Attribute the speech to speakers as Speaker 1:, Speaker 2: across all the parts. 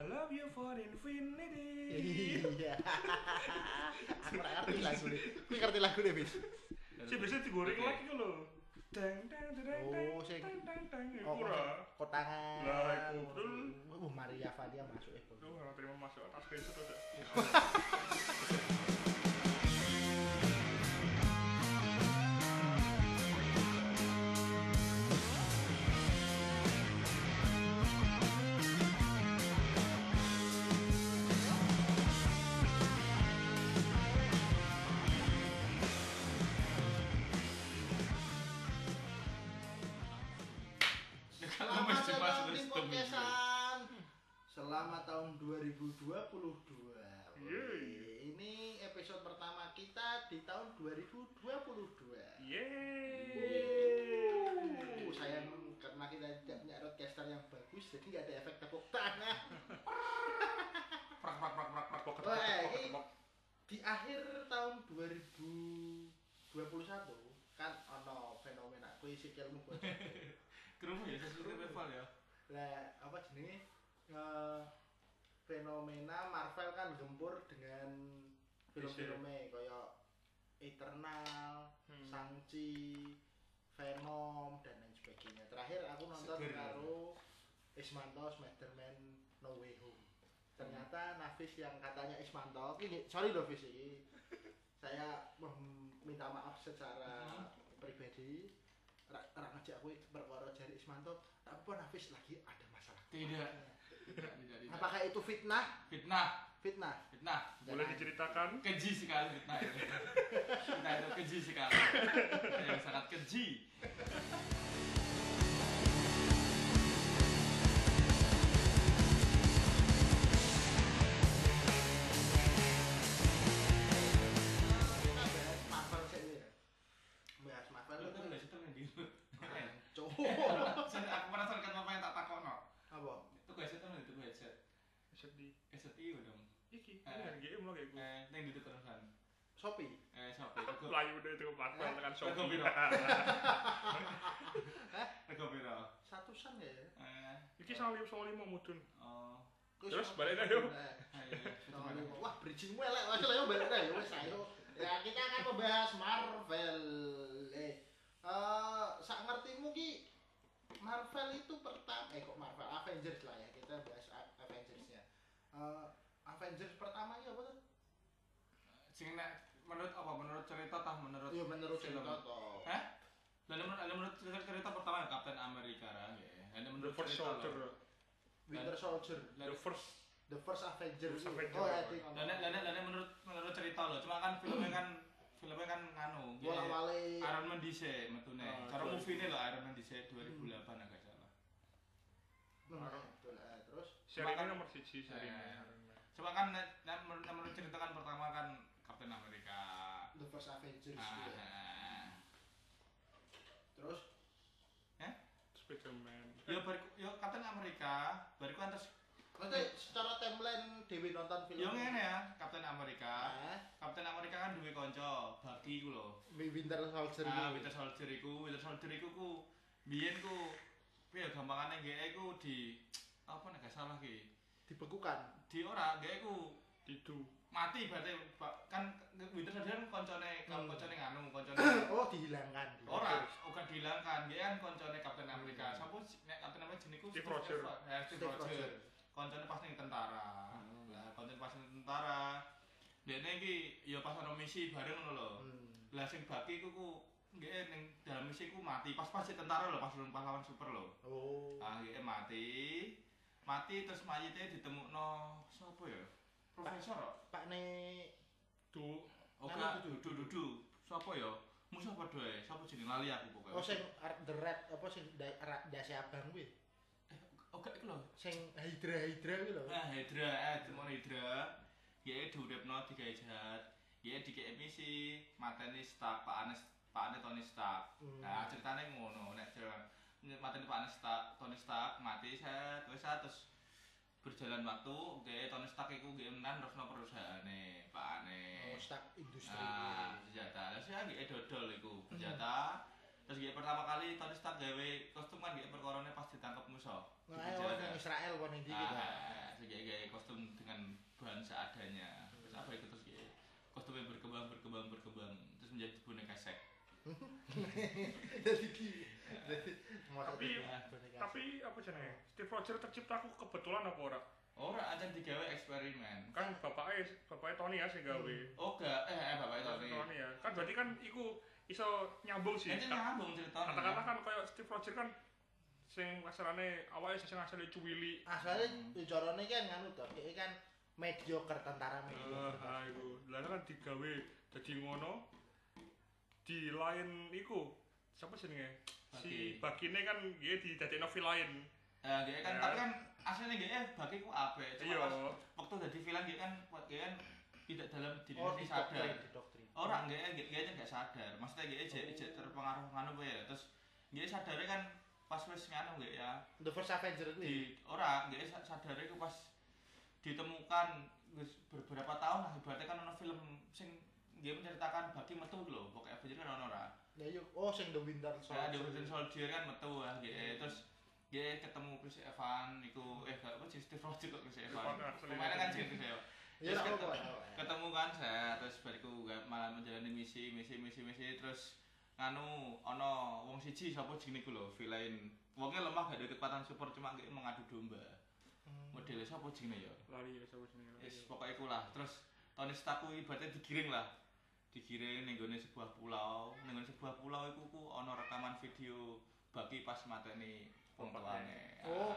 Speaker 1: I love you for infinity.
Speaker 2: Iya. Aku ora ngerti lagu ini. Kuwi ngerti lagu ini, Bis.
Speaker 1: Sih biasanya digoreng
Speaker 3: Oke.
Speaker 1: lagi lho. Dang dang dang dang.
Speaker 2: Oh, sing-
Speaker 1: dang dang dang. Ya,
Speaker 2: Oh,
Speaker 1: Iku ora.
Speaker 2: kotangan.
Speaker 1: Lah, iku, betul.
Speaker 2: Oh, Maria Valia masuk eh.
Speaker 1: Duh, ora terima masuk atas besok tuh.
Speaker 3: Mas
Speaker 2: Selamat
Speaker 3: Dimas
Speaker 2: datang di
Speaker 3: terus
Speaker 2: podcastan. Selamat tahun 2022.
Speaker 1: Iya, Yeay.
Speaker 2: Ini episode pertama kita di tahun 2022.
Speaker 1: Yeay.
Speaker 2: Uh, sayang karena kita tidak punya roadcaster yang bagus jadi nggak ada efek tepuk tangan
Speaker 1: Prak prak prak prak prak prak prak,
Speaker 2: Wah,
Speaker 1: prak,
Speaker 2: ini-
Speaker 1: prak.
Speaker 2: di akhir tahun 2021 kan ono fenomena kuwi sikilmu bocor
Speaker 3: Kerumuh ya, sesuatu rival ya.
Speaker 2: lah apa jenenge Eh, fenomena Marvel kan gempur dengan film-filmnya kaya Eternal,
Speaker 1: Hmm.
Speaker 2: Shang-Chi, Venom dan lain sebagainya. Terakhir aku nonton
Speaker 3: Seger.
Speaker 2: karo Ismanto Spider-Man No Way Home.
Speaker 1: Hmm.
Speaker 2: Ternyata Nafis yang katanya Ismanto, ini sorry loh Fis ini. Saya meminta maaf secara
Speaker 1: Hmm.
Speaker 2: pribadi. Ra- Ra ngejak aku perkara jari Ismanto, apa Nafis lagi ada masalah.
Speaker 3: Tidak. Tidak, tidak, tidak.
Speaker 2: Apakah itu fitnah?
Speaker 3: Fitnah,
Speaker 2: Fitnah.
Speaker 3: fitnah.
Speaker 1: Hmm. Boleh diceritakan?
Speaker 3: Keji sekali fitnah itu. Fitnah itu keji sekali. Yang sangat keji.
Speaker 2: Kita bahas Marvel sih ya. Bahas Marvel
Speaker 3: Lalu
Speaker 2: itu
Speaker 3: tadi nggak sih temen di
Speaker 2: Keren.
Speaker 3: Keren.
Speaker 2: cowok.
Speaker 3: Saya- Aku merasakan apa yang tak takono.
Speaker 2: Apa?
Speaker 3: Itu gue headset temen, itu gue headset.
Speaker 1: Sedih.
Speaker 3: Headset iyo dong.
Speaker 1: Iki, ini harga emu lagi gue.
Speaker 3: Eh, neng di terusan.
Speaker 2: Shopee.
Speaker 3: Eh, sampai. Rego
Speaker 1: Layu deh itu Marvel
Speaker 2: Eh,
Speaker 1: tekan
Speaker 3: Rego
Speaker 1: Shopee.
Speaker 3: Biro. Rego Biro.
Speaker 2: Satusan ya. ya?
Speaker 3: Eh,
Speaker 1: Iki sang liu soal lima mudun.
Speaker 3: oh, iya.
Speaker 2: Kuwi
Speaker 1: Terus
Speaker 2: Shopee.
Speaker 1: balik dah, yuk.
Speaker 2: Nah,
Speaker 3: ayo.
Speaker 2: sama lima. Wah, bridging elek. Wah, ayo balik dah ya wes ayo. Ya, kita akan membahas Marvel. Eh, eh sak ngertimu ki Marvel itu pertama eh kok Marvel Avengers lah ya. Kita bahas A- Avengers-nya. Eh, Avengers pertama ya apa tuh?
Speaker 3: Sing nek menurut apa? Menurut cerita tah menurut
Speaker 2: Iya menurut
Speaker 3: film?
Speaker 2: cerita toh.
Speaker 3: Hah? Lalu menurut, lalu menurut cerita, cerita pertama Kapten Amerika kan ya. Lalu
Speaker 1: The
Speaker 3: menurut
Speaker 1: First
Speaker 3: cerita
Speaker 1: Soldier.
Speaker 3: lo.
Speaker 2: Winter Soldier.
Speaker 1: The
Speaker 3: Lalu
Speaker 1: First.
Speaker 2: The First Avenger.
Speaker 1: First Avenger.
Speaker 2: Oh, ya, ting-
Speaker 3: lalu lalu lalu menurut menurut cerita lo. Cuma kan filmnya kan filmnya kan nganu.
Speaker 2: bola
Speaker 3: gini.
Speaker 2: wale.
Speaker 3: Iron Man dhisik metune.
Speaker 1: Ah,
Speaker 3: Cara
Speaker 1: sorry.
Speaker 3: movie-ne lho Iron Man dhisik 2008 agak salah.
Speaker 2: Nah, betul, eh, Terus
Speaker 1: Seri ini
Speaker 3: Makan-
Speaker 1: nomor siji seri ini.
Speaker 3: Eh. Cuma kan nek nek menurut, nek menurut cerita kan pertama kan Kapten Amerika.
Speaker 2: The First
Speaker 1: Iya.
Speaker 2: Avengers. gitu ya.
Speaker 3: Ah,
Speaker 2: Terus
Speaker 1: Spiderman.
Speaker 3: yo bariku yo Kapten Amerika, bariku antes
Speaker 2: nanti secara timeline Dewi nonton film.
Speaker 3: yo ngene ya Kapten Amerika.
Speaker 2: Ah,
Speaker 3: Kapten Amerika kan duwe kanca Bucky ku lho.
Speaker 2: Winter Soldier.
Speaker 3: Ah,
Speaker 2: ini.
Speaker 3: Winter Soldier iku, Winter Soldier iku ku biyen ku piye gampangane GE ku di apa nek gak salah ki.
Speaker 2: Dibekukan.
Speaker 3: Di ora GE ku
Speaker 1: Didu.
Speaker 3: mati berarti Pak. kan Winter Soldier kan koncone
Speaker 2: Hmm.
Speaker 3: koncone nganu koncone
Speaker 2: Oh, dihilangkan.
Speaker 3: ora uga dihilangkan dia kan koncone Kapten Amerika. Sapa si- nek Kapten Amerika jeniku
Speaker 1: Steve Rogers.
Speaker 3: Eh, Steve
Speaker 2: Hmm. Steve Rogers. Hmm.
Speaker 3: Rogers. Koncone pas ning tentara. Lah koncone pas ning tentara. Dene iki ya pas ana misi bareng ngono lho.
Speaker 2: Hmm.
Speaker 3: Lah sing baki ku ku nggih ning dalam misi ku mati. Pas pas si tentara lho, pas lawan- pas lawan super lho.
Speaker 2: Oh.
Speaker 3: Akhirnya mati. Mati terus mayitnya ditemukno sapa ya? Profesor. kok?
Speaker 2: Pak ne
Speaker 1: Du.
Speaker 3: Oga dudu dudu. Sapa ya? Musuh padha ae. Sapa jeneng lali aku pokoke.
Speaker 2: Oh, sing Ar- The Red apa sing da- Ra- dasi abang kuwi.
Speaker 3: Oga iku lho.
Speaker 2: Sing Hydra Hydra kuwi lho.
Speaker 3: Nah, Hydra, eh ditemukno Hydra. Ya diuripno digawe jahat. Ya dikei misi mateni Stark, pakane pakane Tony Stark.
Speaker 2: Hmm.
Speaker 3: Nah,
Speaker 2: Oh,
Speaker 3: ceritanya ngono, nek jalan mati Pak Stark, Tony Stark mati set, wis set, terus berjalan waktu, dia Tony Stark iku nggih menan terus perusahaane, Pak Ane.
Speaker 2: Oh, stuck industri.
Speaker 3: Nah, senjata. Terus ya nggih dodol iku, senjata. Terus nggih pertama kali Tony Stark gawe kostum kan nggih perkorone pas ditangkep musuh.
Speaker 2: Nah, ayo, eh, orang Israel kon iki
Speaker 3: Nah,
Speaker 2: kita.
Speaker 3: terus nggih gawe
Speaker 2: Jadi ki. Jadi masa
Speaker 1: Tapi-
Speaker 2: jadi boneka.
Speaker 1: Tapi apa jenenge? Steve Roger tercipta aku kebetulan apa ora?
Speaker 3: Ora aja digawe eksperimen.
Speaker 1: Kan bapaknya bapaknya Tony ya sing gawe.
Speaker 3: Oke, eh eh bapak itu nih.
Speaker 1: Tony ya. Kan berarti kan iku iso nyambung sih.
Speaker 3: Ini nyambung ceritanya.
Speaker 1: Kata-kata kan kayak Steve Roger kan sing kasarane awake sing asale cuwili.
Speaker 2: Asalnya
Speaker 3: Hmm.
Speaker 2: corone kan nganu to, dia kan mediocre tentara
Speaker 1: Eh,
Speaker 2: mediocre.
Speaker 1: ah, iku. Lah kan digawe dadi ngono. Di lain iku siapa jenenge? Si Bakine kan dia didadekno villain.
Speaker 3: Eh, dia kan
Speaker 1: Ya.
Speaker 3: tapi kan aslinya dia eh, bagi ku apik. Cuma
Speaker 1: Iya.
Speaker 3: pas waktu jadi film dia kan dia kan tidak dalam diri
Speaker 2: Oh,
Speaker 3: sendiri
Speaker 2: di
Speaker 3: sadar.
Speaker 2: doktrin, di doktrin.
Speaker 3: Orang dia dia dia aja nggak sadar. Maksudnya dia aja aja terpengaruh nganu apa ya. Terus dia sadarnya kan pas wes nganu gak ya.
Speaker 2: The First Avenger ini.
Speaker 3: di orang nggak sa- sadare ku pas ditemukan wis beberapa tahun lah ibaratnya kan ono film sing dia menceritakan bagi metu lho pokoknya Avenger kan ono ora
Speaker 2: Ya yuk, oh sing The Winter Soldier.
Speaker 3: saya di Nah, Hmm. Winter Soldier kan metu lah gitu terus dia ketemu Chris Evans itu eh gak apa sih Steve Rogers kok Chris Evans kemarin kan sih Chris Evans
Speaker 2: Ya
Speaker 3: Terus
Speaker 2: tak apa-apa.
Speaker 3: ketemu- ketemu kan saya terus bariku gak- malah menjalani misi misi misi misi terus nganu ono wong siji sapa jenenge ku lho villain wongnya lemah gak ada kekuatan super cuma nggak mengadu domba
Speaker 2: Hmm.
Speaker 3: modelnya siapa jenenge ya
Speaker 1: Lari ya siapa jenenge? lari
Speaker 3: Yes,
Speaker 1: ya.
Speaker 3: pokoknya iku lah. Terus Tony Stark kuwi ibaratnya digiring lah. Digiring ning nggone sebuah pulau, ning nggone sebuah pulau iku ku ana rekaman video bagi pas mateni wong tuane.
Speaker 2: Oh.
Speaker 3: Ah.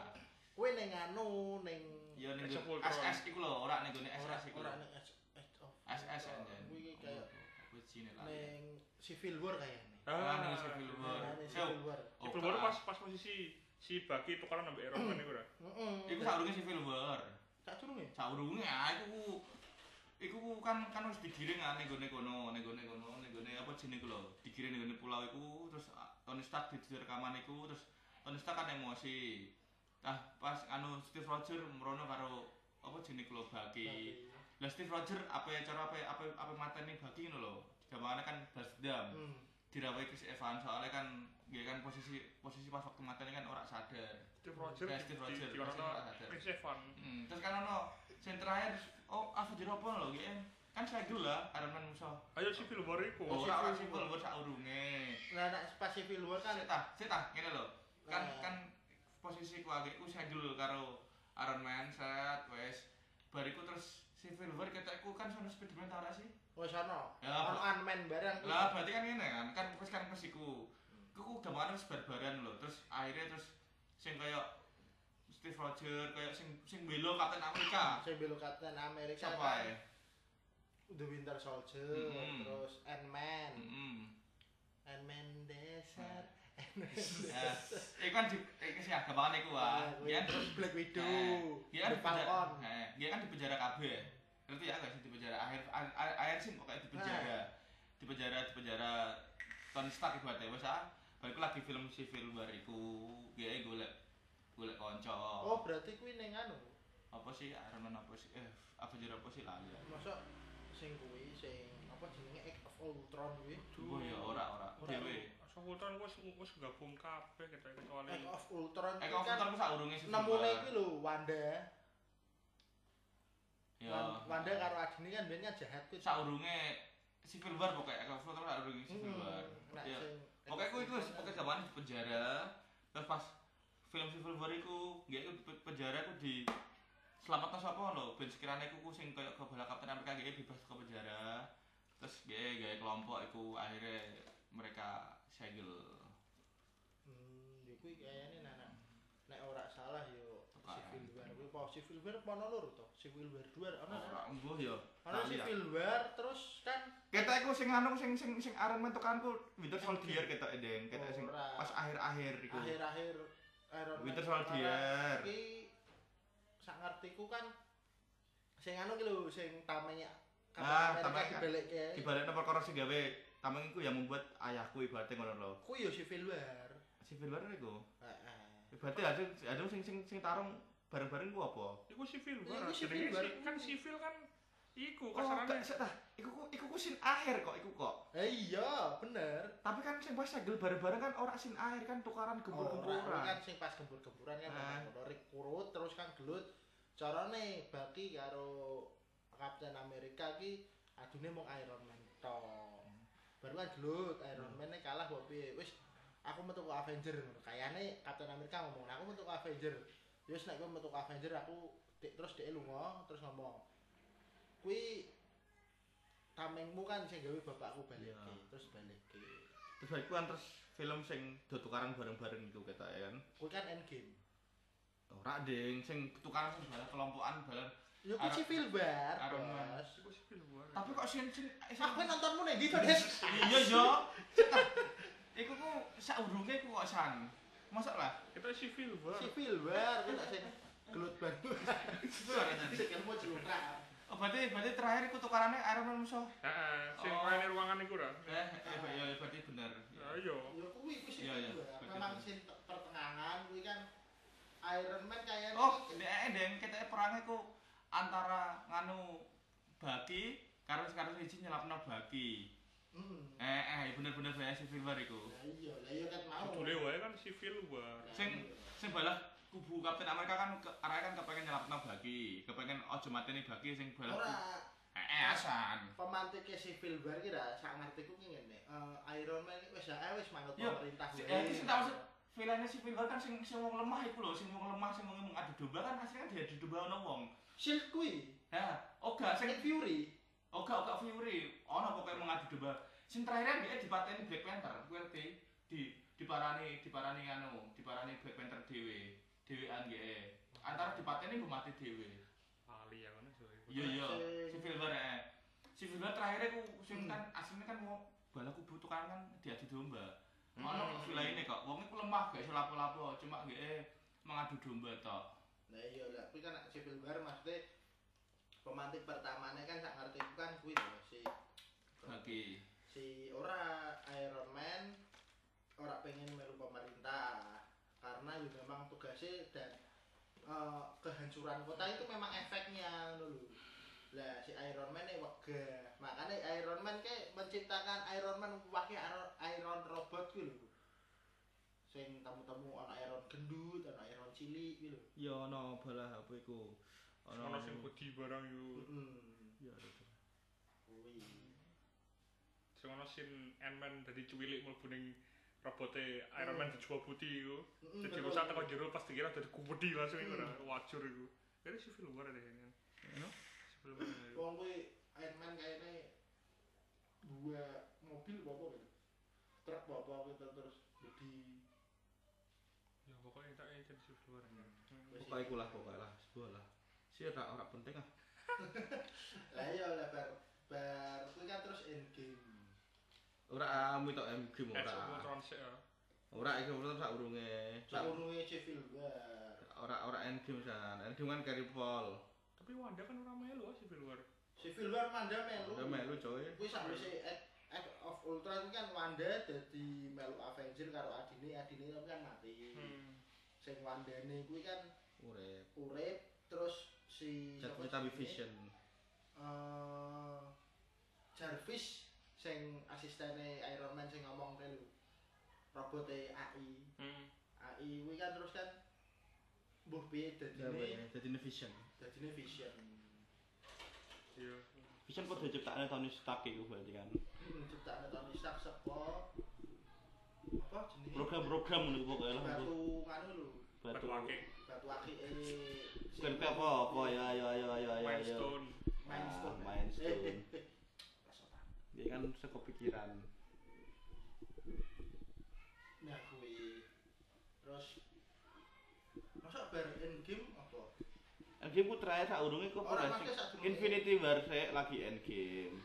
Speaker 2: Kowe ning anu ning
Speaker 3: ya ning
Speaker 1: Age of
Speaker 3: nggon-
Speaker 1: Ultron.
Speaker 3: SS iku lho, ora ning nggone
Speaker 2: ora
Speaker 3: SS iku.
Speaker 2: ora
Speaker 3: lho.
Speaker 2: ning Age- Age of-
Speaker 3: SS anjen. Oh,
Speaker 2: Kuwi kayak
Speaker 3: apa cine lah.
Speaker 2: ning Civil War kayaknya.
Speaker 3: Ah, ning
Speaker 1: Ah,
Speaker 3: Civil War.
Speaker 2: Nah, ning
Speaker 3: So,
Speaker 2: Civil War.
Speaker 3: oh, Hmm.
Speaker 1: Civil War
Speaker 3: kan.
Speaker 1: pas pas posisi si Baki tukaran nambah Iron Man iku ora.
Speaker 2: Heeh.
Speaker 3: Iku saurunge Civil War.
Speaker 2: Sak durunge.
Speaker 3: Saurunge ah, iku ku- iku ku kan kan wis digiring ah ning nggone kono, ning nggone kono, ning nggone apa jenenge ku lho. Digiring ning nggone pulau iku terus ah, Tony Stark di di rekaman iku terus Tony Stark kan emosi. Nah, pas anu Steve Roger merono karo apa jenenge ku lho bagi. Lah Steve Roger apa cara apa apa apa mateni bagi ngono lho. Gampangane kan balas dendam.
Speaker 2: Hmm.
Speaker 3: Dirawai Chris Evans soalnya kan dia kan posisi posisi pas waktu mateni kan ora sadar.
Speaker 1: Steve Roger
Speaker 3: Ya,
Speaker 1: di
Speaker 3: Steve
Speaker 1: di
Speaker 3: Roger,
Speaker 1: di orang
Speaker 3: pasti nggak ada.
Speaker 1: Chris Evans.
Speaker 3: Hmm, terus kan ono sing terakhir oh Avenger apa lho iki em? kan Shaggy lah Iron Man musuh.
Speaker 1: Ayo Civil War iku.
Speaker 3: Oh,
Speaker 2: Civil
Speaker 3: ora ora
Speaker 2: War.
Speaker 3: simpel wis saurunge.
Speaker 2: Nah, nek pas Civil War kan
Speaker 3: Kan tah, sik Ah. tah ngene lho. Kan
Speaker 2: Nah.
Speaker 3: kan posisi ku agekku Shaggy karo Iron Man set wes bariku terus Civil War ketekku kan sono Spiderman ta ora sih?
Speaker 2: wis ana.
Speaker 3: Ya,
Speaker 2: Ono Ant-Man bareng.
Speaker 3: Lah berarti kan ngene kan kan wis kan wis iku. Iku gambaran wis barbaran lho. Terus akhirnya terus sing kaya Steve Roger kaya sing sing belo Captain America.
Speaker 2: Sing belok Captain America.
Speaker 3: Siapa
Speaker 2: kan.
Speaker 3: ya?
Speaker 2: The Winter Soldier,
Speaker 3: Mm-mm.
Speaker 2: terus Ant-Man,
Speaker 3: Heeh.
Speaker 2: Ant-Man Desert,
Speaker 3: Ya, iku kan di eh, iki sih gampangane iku
Speaker 2: ah,
Speaker 3: wae. Ya terus
Speaker 2: Black
Speaker 3: eh,
Speaker 2: Widow,
Speaker 3: dia kan
Speaker 2: The
Speaker 3: di penjara.
Speaker 2: Falcon.
Speaker 3: Eh, dia kan di penjara kabeh. Ngerti ya gak sih di penjara akhir akhir- akhir sih pokoknya di penjara. Di penjara di penjara Tony Stark ibaratnya wis ah. Bariku lagi film Civil War iku dia golek golek kanca.
Speaker 2: Oh, berarti kuwi ning anu.
Speaker 3: Apa sih Iron Man apa sih? Eh, Avenger apa sih lah ya.
Speaker 2: Masa sing kuwi sing apa jenenge Age of Ultron kuwi?
Speaker 3: Oh ya ora ora
Speaker 2: Ora.
Speaker 3: dhewe.
Speaker 1: Asa Ultron wis wis gabung kabeh kita kecuali
Speaker 2: Age of Ultron
Speaker 3: Eh
Speaker 2: kuwi
Speaker 3: kok
Speaker 2: kan
Speaker 3: kan saurunge Civil
Speaker 2: nemune
Speaker 3: War.
Speaker 2: kuwi lho Wanda.
Speaker 3: Ya.
Speaker 2: Wan- Wanda karo adine kan biyen kan jahat kuwi.
Speaker 3: saurunge Civil War pokoknya Age of Ultron saurunge Civil
Speaker 2: Mm,
Speaker 3: War.
Speaker 2: nek
Speaker 3: Ya.
Speaker 2: sing
Speaker 3: Pokoknya aku itu pokoknya gamane di penjara. Terus pas film Civil War iku nggih iku pe- penjara aku di selamat sapa lho ben sekirane aku sing koyo kebala Kapten Amerika nggih bebas ke penjara. Terus nggih gawe kelompok iku akhirnya mereka segel
Speaker 2: Hmm, ya kuwi kayaknya nek nek- nek ora salah yo
Speaker 3: Tukaran.
Speaker 2: Civil War kuwi apa Civil War apa ono loro to? Civil War 2 ono ora?
Speaker 3: ora embuh ya.
Speaker 2: Ono
Speaker 3: Lali ya.
Speaker 2: Civil War terus kan
Speaker 3: Kita iku sing anu sing sing sing areng mentukanku Winter Soldier kita Eden, kita sing
Speaker 2: Ora.
Speaker 3: pas akhir-akhir iku.
Speaker 2: akhir-akhir Iron Man
Speaker 3: Winter
Speaker 2: kemarin
Speaker 3: Soldier.
Speaker 2: Iki sak ngertiku kan sing anu ki lho sing tamenya
Speaker 3: Ah,
Speaker 2: Captain
Speaker 3: tamenya.
Speaker 2: America dibelekke.
Speaker 3: Ibaratnya perkara sing gawe tameng iku yang membuat ayahku ibaratnya ngono lho.
Speaker 2: Kuwi yo Civil War.
Speaker 3: Civil War iku.
Speaker 2: Heeh.
Speaker 3: Berarti ada ada sing sing sing tarung bareng-bareng ku apa?
Speaker 1: iku Civil
Speaker 2: Iku
Speaker 1: War.
Speaker 2: Civil
Speaker 1: Jenenge
Speaker 2: War.
Speaker 1: si- kan Civil kan iku
Speaker 3: Oh,
Speaker 1: kasarane
Speaker 3: gak sik tah. Iku ku iku ku sin akhir kok iku kok.
Speaker 2: Eh iya, bener.
Speaker 3: Tapi kan sing pas segel bareng-bareng kan ora sin akhir kan tukaran
Speaker 2: Ora, kuwi kan
Speaker 3: gembur-gemburan.
Speaker 2: sing pas gembur-gemburan kan
Speaker 3: Ah.
Speaker 2: ono rik kurut terus kan gelut. Carane bagi karo Captain America ki adune mung Iron Man tok. baru kan gelut Iron
Speaker 3: Hmm.
Speaker 2: Man nya kalah kok piye wis aku metu ke Avenger kayane Captain America ngomong aku metu ke Avenger terus nek kowe metu ke Avenger aku dek terus dek lunga terus ngomong kuwi tamengmu kan sing gawe bapakku balik
Speaker 3: Iya.
Speaker 2: terus balik ke
Speaker 3: Terus bariku kan terus film sing do tukaran bareng-bareng itu kata ya kan.
Speaker 2: kuwi kan endgame
Speaker 3: Ora ding sing tukaran sing bareng kelompokan bareng.
Speaker 2: yo kuwi
Speaker 3: Iron-
Speaker 2: civil war
Speaker 3: Iron Man.
Speaker 2: Bos.
Speaker 1: Iku sih film luar.
Speaker 3: Tapi kok sing sing
Speaker 2: Ah, kowe nontonmu nek ndi to, Des?
Speaker 3: iya yo. Iku ku saurunge ku kok san. Mosok lah.
Speaker 1: kita sih film luar.
Speaker 2: Civil war kuwi tak sing gelut banget.
Speaker 3: Itu ora jadi.
Speaker 2: Sikilmu celuprak.
Speaker 3: Oh, berarti berarti terakhir ku tukarane Iron Man musuh.
Speaker 1: Heeh, sing
Speaker 3: Oh.
Speaker 1: main ruangan iku ra.
Speaker 3: Eh, eh, ya ya, berarti bener.
Speaker 1: Ayo.
Speaker 3: Oh.
Speaker 2: Ya kuwi kuwi sing
Speaker 3: Iya, iya.
Speaker 2: kedua. Memang sing te- pertengahan kuwi kan Iron Man kaya
Speaker 3: Oh, nek deng ketek perangnya ku antara nganu baki karo karo siji nyelapno baki.
Speaker 2: Hmm.
Speaker 3: Eh, eh bener-bener saya Civil War iku.
Speaker 2: Lah iya, lah iya kan mau.
Speaker 1: Judule wae kan sivil luar.
Speaker 2: Lah
Speaker 3: Sing-
Speaker 2: iya.
Speaker 3: Sing balah kubu Kapten Amerika kan ke, arahnya kan kepengen nyelapno baki, kepengen ojo mateni baki sing balah.
Speaker 2: ora
Speaker 3: Eh, eh asan.
Speaker 2: pemantike civil war ki ra sak ngertiku ki ngene. Eh, Iron Man iki wis ae wis manut
Speaker 3: Iya.
Speaker 2: pemerintah
Speaker 3: Si-
Speaker 2: kuwi.
Speaker 3: eh, iki sing tak maksud. Filmnya Civil War kan sing sing wong lemah iku lho, sing wong lemah sing wong ngadu domba kan asline kan diadu domba ono wong.
Speaker 2: Shield kuwi,
Speaker 3: Nah, oga sing
Speaker 2: Nick Fury.
Speaker 3: Oga oga Fury, ono pokoknya mengadu domba. Sing terakhir dia dipateni Black Panther, kuwi ngerti? Di diparani diparani anu, diparani Black Panther dhewe, dhewean ge. Antara dipateni mbok mati dhewe.
Speaker 1: Ali ya ngono sih.
Speaker 3: Iya iya,
Speaker 2: Sing-
Speaker 3: Civil War eh. Civil War terakhir ku sing
Speaker 2: Hmm.
Speaker 3: kan aslinya kan mau bala kubu tukaran kan diadu domba.
Speaker 2: Hmm.
Speaker 3: Ono kok vilaine kok, wong iku lemah gak iso lapo-lapo, cuma ge mengadu domba tok.
Speaker 2: Lah iya lah kuwi kan nek civil war maksudnya pemantik pertamane kan sak ngertiku kan kuwi lho si
Speaker 3: Bagi
Speaker 2: si ora Iron Man ora pengen melu pemerintah karena ya memang tugasnya dan eh, kehancuran kota itu memang efeknya dulu lah si Iron Man ini wegah makanya Iron Man ke menciptakan Iron Man pakai Iron, Iron robot gitu lho sing tamu-tamu ono Iron gendut ono Iron cilik gitu
Speaker 3: ya ono bala apa iku.
Speaker 1: Ono sing wedi barang yo.
Speaker 2: mm
Speaker 3: ya
Speaker 2: kuwi
Speaker 1: Sing ono sin Ant-Man dadi cuwilik mlebu ning robote Iron Man dijual putih iku.
Speaker 2: Mm-mm,
Speaker 1: Dadi
Speaker 2: Hmm. betul.
Speaker 1: rusak teko jero pas dikira dadi kupedi langsung iku ra.
Speaker 2: Hmm.
Speaker 1: Wajur iku. Jadi sivil luar deh ini. Sivil luar. ya.
Speaker 2: wong kuwi Iron Man kayaknya dua mobil apa apa gitu truk apa apa gitu terus jadi
Speaker 1: Ya pokoknya tak jadi sivil luar. ya.
Speaker 2: Wis
Speaker 3: Pokoknya iku lah, pokoknya lah, sebuah lah. Sih ora ora penting ah.
Speaker 2: lah iya lah bar bar kuwi kan terus endgame
Speaker 3: Ora amu tok MG
Speaker 1: Eh,
Speaker 3: ora.
Speaker 1: semua transit ya.
Speaker 3: Ora iki ora sak urunge. Sak-
Speaker 2: seluruhnya civil war
Speaker 3: Ora ora endgame san. Endgame kan carry fall.
Speaker 1: Tapi Wanda kan ora melu ah sivil luar.
Speaker 2: civil war Wanda melu
Speaker 3: Udah melu coy.
Speaker 2: kuwi sakwise Age- Age of Ultron kuwi kan Wanda dadi melu Avenger karo adine adine tapi kan mati
Speaker 1: Hmm.
Speaker 2: sing Wandane kuwi kan
Speaker 3: Urip.
Speaker 2: urip terus si siapa
Speaker 3: Cerita
Speaker 2: jenenge?
Speaker 3: Vision.
Speaker 2: eh Jarvis sing asistene Iron Man sing ngomong kae lho. Robote AI.
Speaker 1: Hmm.
Speaker 2: AI kuwi kan terus kan mbuh piye dadine
Speaker 3: Jadi Vision.
Speaker 2: dadine Vision.
Speaker 1: Iya.
Speaker 4: Vision kode ciptaannya Tony Stark itu berarti kan
Speaker 2: Hmm, ciptane Tony Stark saka apa jenenge?
Speaker 4: program-program menurut pokoknya lah itu
Speaker 2: batu nganu lho,
Speaker 4: batu
Speaker 1: Batwake.
Speaker 2: batu akike.
Speaker 4: bukan kayak apa apa ya ayo ayo ayo ayo ayo
Speaker 1: Mindstone.
Speaker 2: Mindstone.
Speaker 4: Ah, Mindstone.
Speaker 2: Eh, eh, eh. Kesotan.
Speaker 4: dia kan seko pikiran
Speaker 2: Nah kuwi terus masa bar endgame apa?
Speaker 4: endgame ku terakhir sak urunge kok
Speaker 2: Ora
Speaker 4: berarti
Speaker 2: maksudnya sak
Speaker 4: Infinity War sek lagi endgame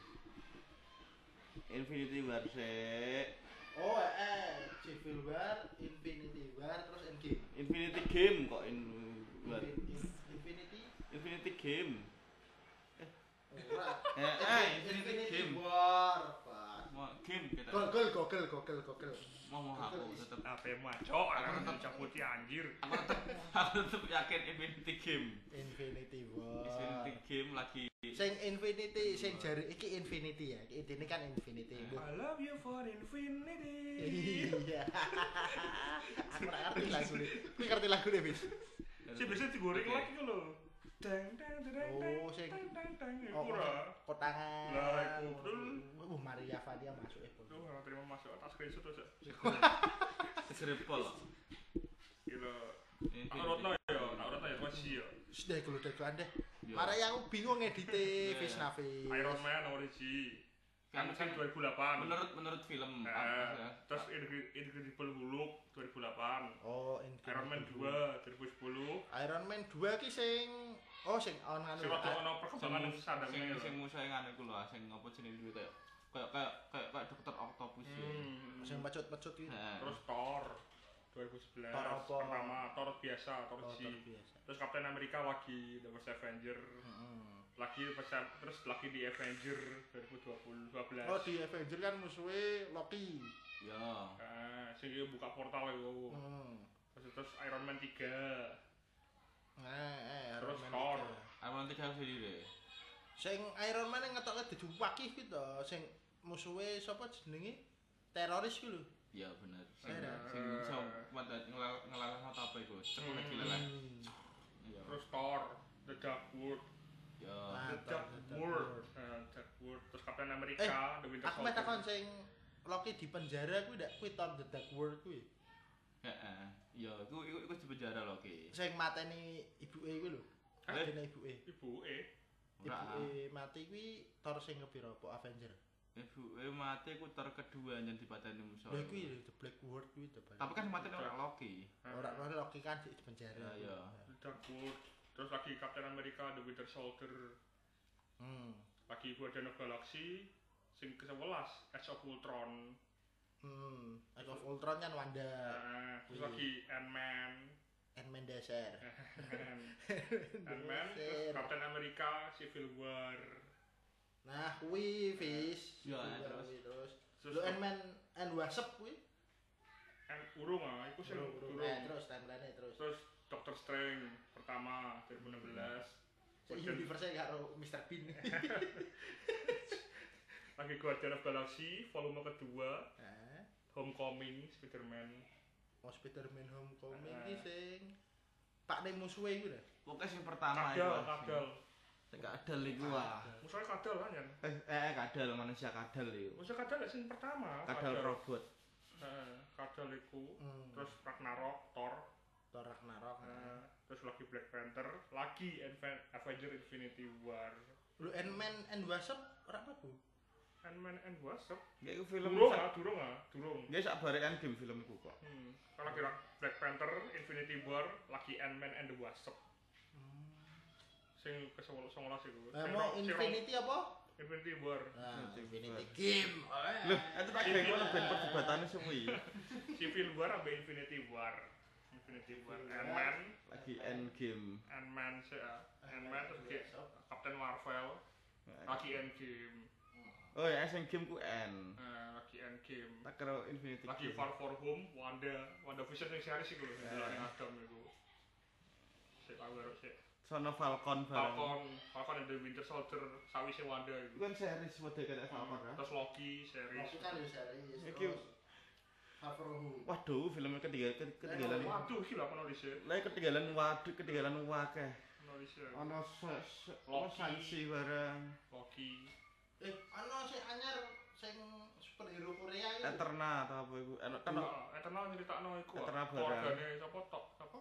Speaker 4: Infinity War sek
Speaker 2: Oh, eh, eh, Civil War, Infinity War, terus Endgame.
Speaker 4: Infinity Game kok in War.
Speaker 2: Infin- in- Infinity
Speaker 4: Infinity Game
Speaker 2: Ora.
Speaker 3: Eh, eh, Infinity Game. Eh.
Speaker 2: War. Pak.
Speaker 3: Mau game kita.
Speaker 2: Google, Google, Google, Google.
Speaker 3: Mau mau aku tetep.
Speaker 1: Apa mah cok? Aku caputi anjir.
Speaker 3: Aku tetep aku tetep yakin Infinity Game.
Speaker 2: Infinity War.
Speaker 3: Infinity Game lagi
Speaker 2: Sing Infinity, sing jari iki Infinity ya. Iki ini kan Infinity. Bu.
Speaker 1: I
Speaker 3: Eh.
Speaker 1: love you for infinity.
Speaker 2: Iya. Aku ora ngerti lagu ini. Kuwi ngerti lagu ini, Bis.
Speaker 1: Si biasa digoreng
Speaker 3: Oke.
Speaker 1: lagi lho. Deng deng deng deng deng
Speaker 2: Oh, sing-
Speaker 1: deng deng deng Ya,
Speaker 2: Oh,
Speaker 1: Iku ra.
Speaker 2: Kotangan.
Speaker 1: Lah, iku, betul.
Speaker 2: Oh, Maria Fadia masuk eh,
Speaker 1: Duh,
Speaker 2: pun.
Speaker 1: orang terima ya. masuk atas screenshot aja.
Speaker 3: Seripol.
Speaker 1: Gila. Tak urutno ya, tak urutno ya kunci ya.
Speaker 2: Sudah kalau dekan deh. Marah yang bingung edite
Speaker 3: Iya.
Speaker 2: Fish Nafi.
Speaker 1: Iron Man nomor 1. Kan sing 2008.
Speaker 3: Menurut menurut film.
Speaker 1: Eh,
Speaker 3: apa ya?
Speaker 1: terus Incre- Incredible Hulk 2008.
Speaker 2: Oh,
Speaker 1: Iron
Speaker 2: Incredible
Speaker 1: Man 2 2010.
Speaker 2: Iron Man 2 ki sing oh sing on anu. ah,
Speaker 1: Sing rada ono
Speaker 3: Sing
Speaker 1: perkembangan
Speaker 3: mus-
Speaker 1: sandange
Speaker 3: sing-
Speaker 1: lho.
Speaker 3: sing musuhe ngene iku lho, sing apa jenenge dhewe kayak kayak kayak kayak kayak dokter octopus ya.
Speaker 1: Hmm.
Speaker 2: sing pecut-pecut ki.
Speaker 3: Heeh.
Speaker 1: Terus Thor 2011
Speaker 2: Thor apa?
Speaker 1: pertama Thor biasa Thor
Speaker 2: Oh,
Speaker 1: G.
Speaker 2: terbiasa.
Speaker 1: Terus Captain America lagi The First Avenger
Speaker 2: Heeh.
Speaker 1: lagi pecah- terus lagi di Avenger 2020 12.
Speaker 2: Oh, di Avenger kan musuhnya Loki.
Speaker 3: ya.
Speaker 1: Eh, sing iki buka portal iku.
Speaker 2: Hmm.
Speaker 1: Terus, terus Iron Man 3.
Speaker 2: Nah, eh, Iron
Speaker 1: Terus
Speaker 2: Man.
Speaker 1: Thor.
Speaker 2: tiga.
Speaker 3: Iron Man tiga sendiri.
Speaker 2: Sing Iron Man yang ngetokke dijumpak ki ki to, sing musuhnya sapa jenenge? Teroris ki lho.
Speaker 3: Ya bener. Sing
Speaker 2: Bener.
Speaker 1: Ah,
Speaker 3: sing iso mata- ngelal ngelal mata apa iku? Cepet
Speaker 1: Hmm.
Speaker 3: lagi leleh.
Speaker 2: Hmm.
Speaker 3: Ya.
Speaker 1: Terus Thor The Dark World.
Speaker 3: Ya.
Speaker 2: Nah,
Speaker 1: The
Speaker 2: Thor,
Speaker 1: Dark
Speaker 2: The Dark
Speaker 1: World.
Speaker 2: World. Eh,
Speaker 1: Eh, Dark World. Terus Captain America The Winter
Speaker 2: Aku meh
Speaker 1: Soldier.
Speaker 2: takon sing Loki di penjara kuwi ndak kuwi Thor the Dark World kuwi.
Speaker 3: Heeh. Ya, iku iku iku di penjara lho, Ki.
Speaker 2: Sing mateni ibuke kuwi lho.
Speaker 1: Hah?
Speaker 2: Mateni ibuke.
Speaker 1: Ibu eh
Speaker 3: Eh? Ora.
Speaker 2: Ibuke mati kuwi Thor sing kepiro apa Avenger?
Speaker 3: Ibuke mati ku ter kedua yang dipateni musuh.
Speaker 2: Lha kuwi lho The Black World kuwi to. Bal.
Speaker 3: Tapi kan mati ora Loki.
Speaker 2: ora ora Loki kan di penjara.
Speaker 3: Iya, iya.
Speaker 1: Ah, The Dark World. Terus lagi Captain America The Winter Soldier.
Speaker 2: Hmm.
Speaker 1: lagi Guardian of Galaxy sing ke-11 Age of Ultron
Speaker 2: Hmm. Age of Ultron kan Wanda.
Speaker 1: nah, terus
Speaker 2: iya.
Speaker 1: lagi Ant-Man
Speaker 2: Ant-Man dasar.
Speaker 3: Eh.
Speaker 1: Ant-Man terus
Speaker 2: Dasar.
Speaker 1: Captain America Civil War
Speaker 2: Nah, kuwi Fish.
Speaker 3: Iya,
Speaker 2: Kuwi,
Speaker 3: terus.
Speaker 2: kuwi, terus.
Speaker 1: terus
Speaker 2: Lho Ant-Man and Wasp kuwi.
Speaker 1: Ant urung ah itu sing
Speaker 2: Durung,
Speaker 1: urung
Speaker 2: durung. Nah, terus timeline-nya terus.
Speaker 1: terus Doctor Strange pertama 2016
Speaker 2: Universe karo Mr. Bean.
Speaker 1: lagi Guardian of Galaxy volume kedua
Speaker 2: Hah?
Speaker 1: Homecoming Spider-Man
Speaker 2: Oh, Spider-Man Homecoming
Speaker 1: Ah.
Speaker 2: ki sing Pak Nemo suwe iku lho.
Speaker 3: Pokoknya sing pertama
Speaker 1: kadal
Speaker 3: ah, sing-
Speaker 1: kadal
Speaker 3: Sing kadal iku ah.
Speaker 1: musuhnya kadal kan ya
Speaker 3: Eh, eh kadal manusia kadal iku.
Speaker 1: musuh kadal sing pertama
Speaker 3: Kadal robot.
Speaker 1: Heeh, kadal iku
Speaker 2: Hmm. Ah, iya.
Speaker 1: terus Ragnarok Thor
Speaker 2: Thor Ragnarok.
Speaker 1: Nah, terus lagi Black Panther, lagi Adven- Avenger Infinity War,
Speaker 2: Lho Ant-Man and Wasp ora apa-apa.
Speaker 1: Ant-Man and Wasp.
Speaker 3: Ya iku film
Speaker 1: Durung
Speaker 3: sak-
Speaker 1: ah, durung ah, durung.
Speaker 3: Ya sak bare kan game film iku kok.
Speaker 1: Hmm. Kalau kira Black Panther, Infinity War, lagi Ant-Man and the Wasp. Sing ke 11 iku. Sing ro-
Speaker 2: Nah, Eh, mau
Speaker 1: sing ro-
Speaker 2: Infinity apa?
Speaker 1: Infinity War.
Speaker 2: Nah,
Speaker 3: Infinity
Speaker 2: Infinity
Speaker 3: War.
Speaker 2: Game.
Speaker 3: Lho,
Speaker 1: Eh.
Speaker 3: itu tak kira ngono ben perdebatane suwi.
Speaker 1: Civil War ambe Infinity War. Infinity War,
Speaker 2: Infinity War.
Speaker 1: Ant-Man,
Speaker 3: Lagi end game.
Speaker 1: Ant-Man sih ah. Ant-Man terus kayak Captain Marvel, lagi Endgame,
Speaker 3: Oh ya, sing game ku end.
Speaker 1: eh, lagi Endgame.
Speaker 3: Tak kira Infinity.
Speaker 1: lagi
Speaker 3: Game.
Speaker 1: Far For Home, Wanda, Wanda Vision yang series iku lho,
Speaker 3: Eh.
Speaker 1: delok Adam iku. Sik aku karo sik.
Speaker 3: Sono Falcon bareng.
Speaker 1: Falcon, Falcon and the Winter Soldier sawise Wanda iku.
Speaker 3: Iku kan series model kata Falcon kan.
Speaker 1: Terus ya? Loki series.
Speaker 2: Aku kan yo series.
Speaker 3: Iki-
Speaker 2: terus Far From Home.
Speaker 3: Waduh, filmnya ketinggalan ketinggalan.
Speaker 2: Wah.
Speaker 1: Waduh, gila aku nulis ya.
Speaker 3: Lah ketinggalan waduh, ketinggalan wakeh.
Speaker 1: Nulis ya.
Speaker 3: Ono se- se- ono
Speaker 1: Loki.
Speaker 3: sanksi bareng
Speaker 1: Loki.
Speaker 2: Eh, ana sing anyar sing superhero Korea iku.
Speaker 3: Eterna atau apa iku. Ono kan
Speaker 1: Iya, Eternal nyeritakno iku. ah,
Speaker 3: Eternal barang.
Speaker 1: Keluargane sapa tok, sapa?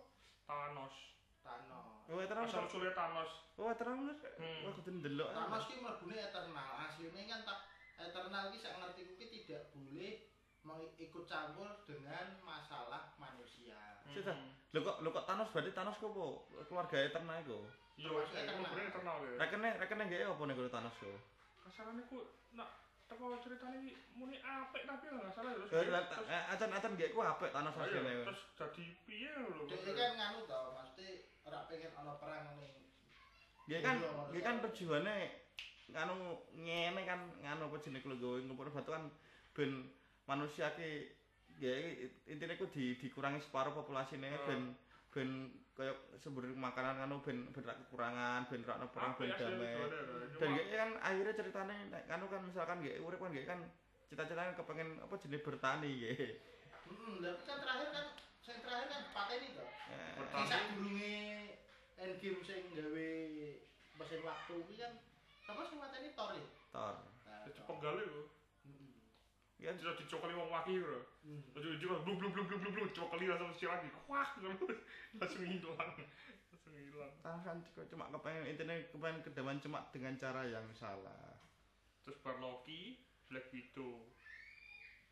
Speaker 1: Thanos.
Speaker 2: Thanos.
Speaker 3: Oh, Eterna.
Speaker 1: Asal usulnya Thanos.
Speaker 3: Oh, Eterna.
Speaker 1: Hmm.
Speaker 3: Wah, kudu ndelok. ah.
Speaker 2: Thanos ki Nah, mlebune Eternal. Asline kan tak Eternal ki sak ngerti ku ki tidak boleh mengikut campur dengan masalah manusia.
Speaker 1: Hmm.
Speaker 3: Sudah. Lho kok lho kok Thanos berarti Thanos ku apa? Keluarga Eterna iku.
Speaker 1: Iya,
Speaker 2: Termasuk
Speaker 1: sik, iku
Speaker 2: Eternal.
Speaker 1: bener Eternal ya.
Speaker 3: Rekene rekene nggae apa nek karo Thanos ku?
Speaker 1: Kasarannya ku nak teko ceritanya iki muni apik tapi nggak salah ya.
Speaker 3: Eh,
Speaker 1: Terus
Speaker 3: lah, ta-
Speaker 1: terus-
Speaker 3: eh, Acan-acan nggae ku apik Thanos
Speaker 1: Ah, iya,
Speaker 3: asline.
Speaker 1: terus jadi piye lho.
Speaker 2: Dhewe kan nganu to, mesti ora pengen ana perang ning
Speaker 3: Nggae kan nggae kan tujuane nganu ngene kan nganu apa jenenge lho gawe ngumpul batu kan ben manusia ki ya intine ku di, dikurangi separuh populasine
Speaker 1: Hmm.
Speaker 3: ben ben kaya sumber makanan kanu ben ben ra kekurangan ben ra ana perang ben damai. dan kayaknya kan akhirnya ceritanya nek kanu kan misalkan gak urip kan gak kan cita-citanya kepengen apa jenis bertani ya
Speaker 2: Hmm, tapi kan terakhir kan, saya terakhir kan pakai ini toh.
Speaker 3: Eh,
Speaker 1: Bertani.
Speaker 2: Sisa gurunge Endgame sing gawe mesin waktu ini kan sapa sing mateni Thor ya?
Speaker 3: Tor.
Speaker 2: Nah,
Speaker 1: Itu
Speaker 2: Thor.
Speaker 1: penggal itu.
Speaker 2: Mm-mm.
Speaker 3: Iya.
Speaker 1: Sudah dicokoli wong wakil bro.
Speaker 2: Mm.
Speaker 1: Terus juga blub blub blub blub blub blub cokoli langsung si lagi. Wah, langsung hilang. Langsung hilang.
Speaker 3: Tahu kan kok cuma kepengen intinya kepengen kedewan cuma dengan cara yang salah.
Speaker 1: Terus bar Loki, Black Widow.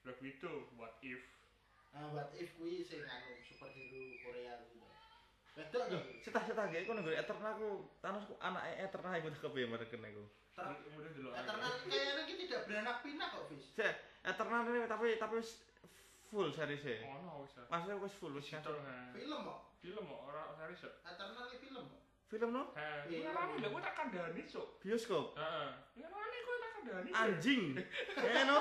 Speaker 1: Black Widow, what if?
Speaker 2: Nah, what if kuwi sing anu superhero Korea gitu. Wedok lho.
Speaker 3: Cita cita gak aku nunggu Eternal aku Thanos aku anak Eternal ibu tak kepengen mereka aku.
Speaker 2: Ter-
Speaker 1: Kemudian delok.
Speaker 2: Eternal kayaknya iki tidak beranak pinak kok, Fis.
Speaker 3: Se Eternal ini tapi tapi wis full series e.
Speaker 1: Oh no, bisa.
Speaker 3: Maksudnya wis full wis
Speaker 1: Situ, ha.
Speaker 2: Film kok.
Speaker 1: Film kok ora series. ya?
Speaker 2: Eternal iki film kok.
Speaker 3: Film no?
Speaker 1: Ha,
Speaker 2: Iya.
Speaker 1: iya. Ngarani lho, kok tak kandhani, Iya, Cuk.
Speaker 3: Bioskop.
Speaker 1: Heeh. Ngarani kok tak kandhani.
Speaker 3: Anjing. Eh no,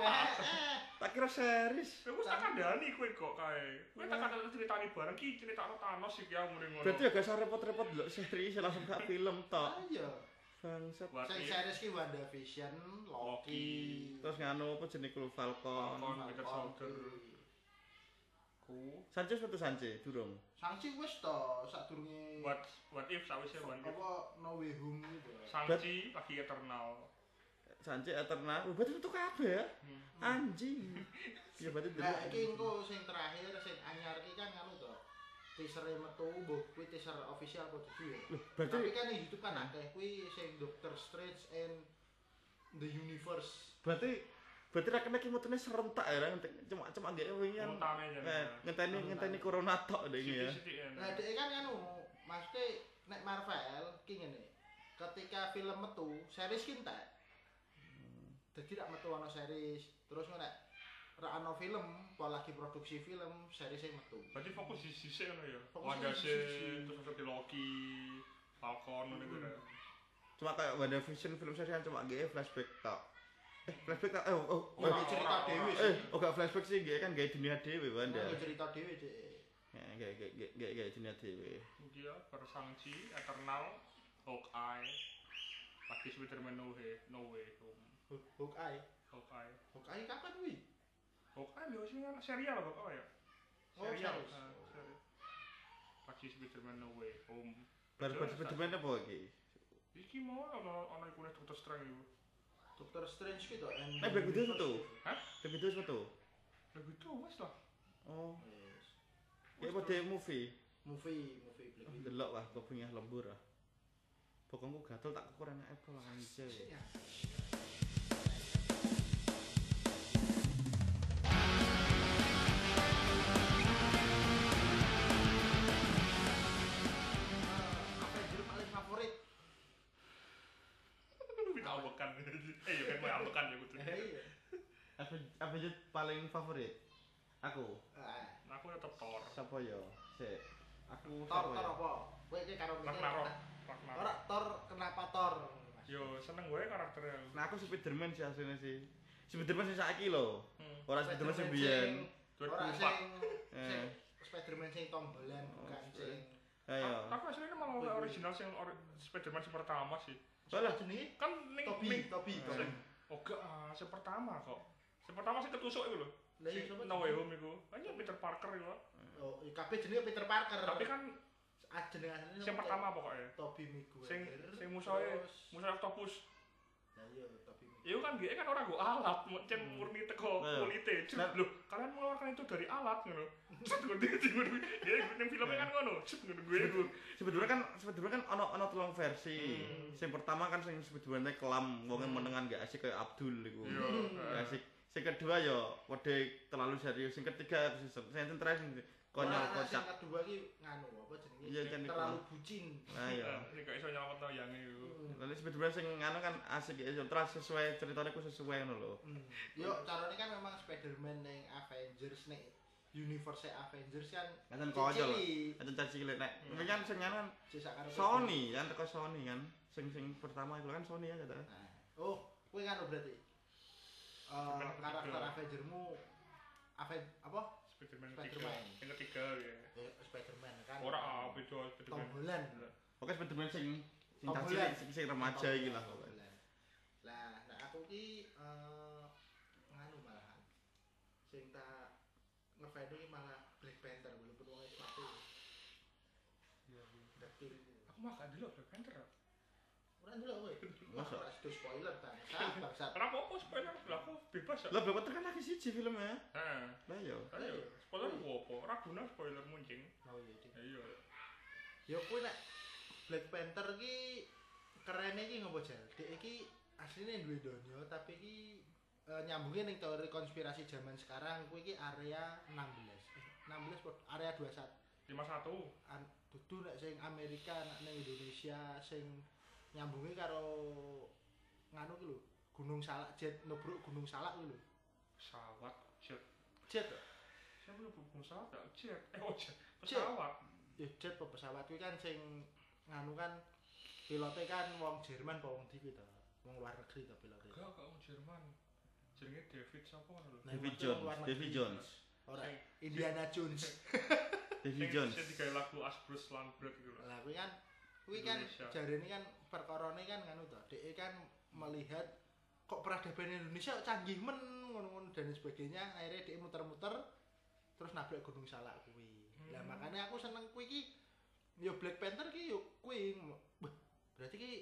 Speaker 1: Wah.
Speaker 2: Eh, eh.
Speaker 3: tak kira series.
Speaker 1: Aku tak kandhani kowe kok kae. Kowe
Speaker 2: Iya.
Speaker 1: tak kandhani ceritani bareng ki critakno Thanos iki ya mrene ngono.
Speaker 3: Berarti ya gak usah repot-repot dulu series langsung ke film tok.
Speaker 2: Ayo.
Speaker 3: Bangsat.
Speaker 1: What
Speaker 2: Sing
Speaker 1: if?
Speaker 2: series ki WandaVision, Loki,
Speaker 3: Terus nganu apa jenis Blue Falcon.
Speaker 1: Falcon Winter Soldier. Ku
Speaker 3: Sanchez metu Sanchez durung.
Speaker 2: Sangchi wis to sadurunge
Speaker 1: what what if sawise what if
Speaker 2: apa No Way Home gitu.
Speaker 1: Sangchi lagi eternal.
Speaker 3: Sanchez Eternal. Oh, berarti metu kabeh ya.
Speaker 1: Hmm.
Speaker 3: Anjing. Ya berarti
Speaker 2: Nah, iki
Speaker 3: dulu.
Speaker 2: engko sing terakhir sing anyar iki kan anu to. Teaser e metu mbok kuwi teaser official apa dudu ya.
Speaker 3: Loh, berarti
Speaker 2: Tapi kan di YouTube kan akeh kuwi sing Doctor Strange and the Universe.
Speaker 3: berarti berarti rakene ki metune serentak ya Rang. cuma cuma nggak wingi kan.
Speaker 1: Utame
Speaker 3: Eh,
Speaker 1: jenenge.
Speaker 3: ngenteni ngenteni corona tok deh ini ya.
Speaker 1: Sithik-sithik ya.
Speaker 2: Nah, dhek kan anu, maksudnya nek Marvel ki ngene. Ketika film metu, series ki entek.
Speaker 3: Hmm.
Speaker 2: Dadi rak metu ana series, terus ngono nek rak ana film, apa lagi produksi film, series sing metu.
Speaker 1: Berarti fokus di sisi kan ya.
Speaker 2: Fokus
Speaker 1: Wanda
Speaker 2: di
Speaker 1: sih,
Speaker 2: sisi.
Speaker 1: terus ada Loki, Falcon ngono gitu.
Speaker 2: Hmm.
Speaker 3: Cuma kayak WandaVision film serial cuma nggak flashback tok. Eh, flashback tok. Eh, oh, oh,
Speaker 2: Ora
Speaker 1: Ora,
Speaker 2: cerita
Speaker 1: ora,
Speaker 2: dhewe
Speaker 1: ora.
Speaker 3: eh,
Speaker 2: sih.
Speaker 3: oh gak flashback sih nggak kan nggak dunia dewe Wanda.
Speaker 2: Ora cerita dhewe dhek.
Speaker 3: Eh, nggak nggak nggak nggak nggak dunia dewe.
Speaker 1: Dia Persangchi, Iya, Eternal, Hawkeye, lagi Spiderman No Way, No Way Home.
Speaker 2: Hawkeye.
Speaker 1: Hawkeye.
Speaker 2: Hawkeye kapan kuwi?
Speaker 1: Hawkeye lho sih kan serial Hawkeye ya.
Speaker 2: Oh,
Speaker 1: Serial.
Speaker 2: series.
Speaker 1: ah, serial. Lagi Spiderman No Way Home.
Speaker 3: Bar bar
Speaker 1: Terus,
Speaker 3: Spiderman apa iki?
Speaker 1: Iki mau ono ono iku nek Doctor Strange iku.
Speaker 2: Doctor Strange gitu and
Speaker 3: Eh, Black Widow metu.
Speaker 1: Hah?
Speaker 3: Black Widow metu.
Speaker 1: Lah gitu wis lah.
Speaker 3: Oh,
Speaker 2: Yes.
Speaker 3: ya apa dia movie?
Speaker 2: Movie, movie Black
Speaker 3: Oh,
Speaker 2: Widow.
Speaker 3: delok wah kepengin lembur ah. Pokokku gatel tak kukur enake pola anjir.
Speaker 2: Sini ya. Eh, Avenger paling favorit.
Speaker 1: Kita abekan. Eh ya kan mau abekan ya kudu.
Speaker 2: Iya.
Speaker 3: Aven- Avenger paling favorit aku
Speaker 2: Ah,
Speaker 1: Nah, aku tetep Thor.
Speaker 3: siapa yo sik aku
Speaker 2: Thor,
Speaker 3: siapa
Speaker 2: Thor
Speaker 3: ya?
Speaker 2: apa? Kowe iki karo mikir.
Speaker 1: Ragnarok.
Speaker 2: Ora
Speaker 1: Ragnarok.
Speaker 2: Thor, kenapa Thor?
Speaker 1: Yo seneng gue karakternya.
Speaker 3: nah aku Spiderman sih aslinya sih Spiderman sing saiki lho
Speaker 1: Hmm.
Speaker 3: ora Spiderman sing biyen Eh,
Speaker 2: Ora
Speaker 1: 2004.
Speaker 2: sing sing Spider-Man sing Tom Holland bukan sing.
Speaker 1: Ta-
Speaker 3: ayo
Speaker 1: Tapi aslinya malah oleh original sing ori Spiderman sing pertama sih.
Speaker 3: Walah.
Speaker 2: jenenge
Speaker 1: Kan ning
Speaker 2: Toby,
Speaker 1: ning
Speaker 2: Toby,
Speaker 3: Eh.
Speaker 2: Toby.
Speaker 1: Oh gak, ah, sing pertama kok. Sing pertama sing ketusuk iku lho.
Speaker 2: Lah iya
Speaker 1: Sing
Speaker 2: sapa?
Speaker 1: No Way Home iku. Hanya Peter Parker iku.
Speaker 2: Oh, iya, kabeh jenenge Peter Parker.
Speaker 1: Tapi kan
Speaker 2: Ah, jeneng asline
Speaker 1: sing
Speaker 2: sapa?
Speaker 1: pertama pokoknya.
Speaker 2: Toby Maguire.
Speaker 1: Sing sing musuhe
Speaker 2: Terus-
Speaker 1: musuh octopus.
Speaker 2: Lah iya Toby Maguire.
Speaker 1: Iya kan dia kan orang gue alat, macam murni teko
Speaker 3: Nah.
Speaker 1: kulite.
Speaker 3: Nah.
Speaker 1: Cet, Loh, kalian mengeluarkan itu dari alat ngono. Cet gue dia dia yang filmnya
Speaker 3: Nah.
Speaker 1: kan ngono. Cet ngono gue gue.
Speaker 3: Spiderman kan Spiderman kan ono ono telung versi
Speaker 1: Hmm.
Speaker 3: sing pertama kan sing Spiderman kelam wonge
Speaker 1: Hmm.
Speaker 3: menengan gak asik kayak Abdul iku
Speaker 1: Iya.
Speaker 3: gak Nah, asik sing kedua yo wede terlalu serius sing ketiga sing sing terakhir sing konyol
Speaker 2: Ora,
Speaker 3: kocak
Speaker 2: Sing kedua ki nganu apa jenenge?
Speaker 3: Iya, kan, iku.
Speaker 2: terlalu bucin.
Speaker 3: nah yo
Speaker 1: Ini gak iso nyelamat tau yang itu.
Speaker 2: Hmm.
Speaker 3: Lalu sebenarnya sing ngano kan asik ya ultra sesuai ceritanya ku sesuai ngono lho.
Speaker 2: Hmm. Yo, carane kan memang Spider-Man ning Avengers nih universe e Avengers kan
Speaker 3: Kan konyol.
Speaker 2: cilik.
Speaker 3: Ada caci cilik nek.
Speaker 1: Hmm.
Speaker 3: Tapi kan sing ngano kan
Speaker 2: Cisak karo
Speaker 3: Sony kan teko Sony kan. Sing sing pertama itu kan Sony ya kata.
Speaker 2: Nah, Oh, kowe kan berarti. Eh
Speaker 1: Spider-Man
Speaker 2: karakter
Speaker 1: ketiga.
Speaker 2: Avengermu Aven apa?
Speaker 1: Spiderman ketiga.
Speaker 2: Spiderman.
Speaker 1: Yang ketiga ya.
Speaker 2: Eh, Spider-Man kan.
Speaker 1: Orang apa itu
Speaker 2: Tom
Speaker 1: Spiderman?
Speaker 2: Holland.
Speaker 3: Oke sebenarnya sing sing
Speaker 2: Tom Holland.
Speaker 3: caci cilik, sing sing remaja
Speaker 2: Tom
Speaker 3: iki lah
Speaker 2: Holland,
Speaker 3: pokoknya.
Speaker 2: Tom Holland. Lah, nah aku ki eh nganu malahan. Sing tak ngefans iki malah Black Panther walaupun wong mati. Iya, dekil.
Speaker 1: Mah gak delok Black Panther.
Speaker 2: Ora ndelok kowe.
Speaker 3: Masa?
Speaker 2: Ora sedo spoiler bangsat, bangsat.
Speaker 1: Ora apa-apa spoiler lah aku bebas.
Speaker 3: Lah bapak tekan lagi siji filmnya.
Speaker 1: Heeh.
Speaker 3: Lah yo.
Speaker 1: Ayo, spoiler ku apa? Ora guna spoiler muncing.
Speaker 2: Oh iya. Dik.
Speaker 1: Ya iya.
Speaker 2: Ya kuwi nek Black Panther ki kerene ki ngopo jal? Dek iki asline duwe donya tapi ki eh, nyambungnya ning teori konspirasi zaman sekarang kuwi ki area 16. Eh, 16 apa? area 21.
Speaker 1: 51.
Speaker 2: an, dudu nek sing Amerika nek ning Indonesia sing nyambungi karo nganu ki lho Gunung Salak jet nubruk Gunung Salak ki lho
Speaker 1: Pesawat jet.
Speaker 2: jet
Speaker 1: Siapa lu bukan pesawat? Gak, Jet. Eh, oh, jet. Pesawat.
Speaker 2: ya jet apa pesawat kuwi kan sing nganu kan pilote kan wong Jerman apa wong ndi kuwi to wong luar negeri to pilote
Speaker 1: Enggak, enggak wong Jerman. Jenenge David sapa ngono lho.
Speaker 2: Nah,
Speaker 3: David
Speaker 2: maksudnya
Speaker 3: Jones,
Speaker 2: luar negeri.
Speaker 3: David Jones,
Speaker 2: ora
Speaker 1: Sing-
Speaker 2: Indiana Jones
Speaker 3: David
Speaker 1: Sing-
Speaker 3: Jones.
Speaker 1: Sing digawe lagu As Bruce Lambert iku lho.
Speaker 2: lah kuwi kan kuwi kan
Speaker 1: Indonesia.
Speaker 2: jarene kan perkorone kan nganu to dhek kan melihat kok peradaban Indonesia kok canggih men ngono-ngono dan sebagainya akhirnya dhek e muter-muter terus nabrak Gunung Salak kuwi lah
Speaker 1: Hmm.
Speaker 2: makanya aku seneng kuwi ki yo Black Panther ki yo kuwi Wah, berarti ki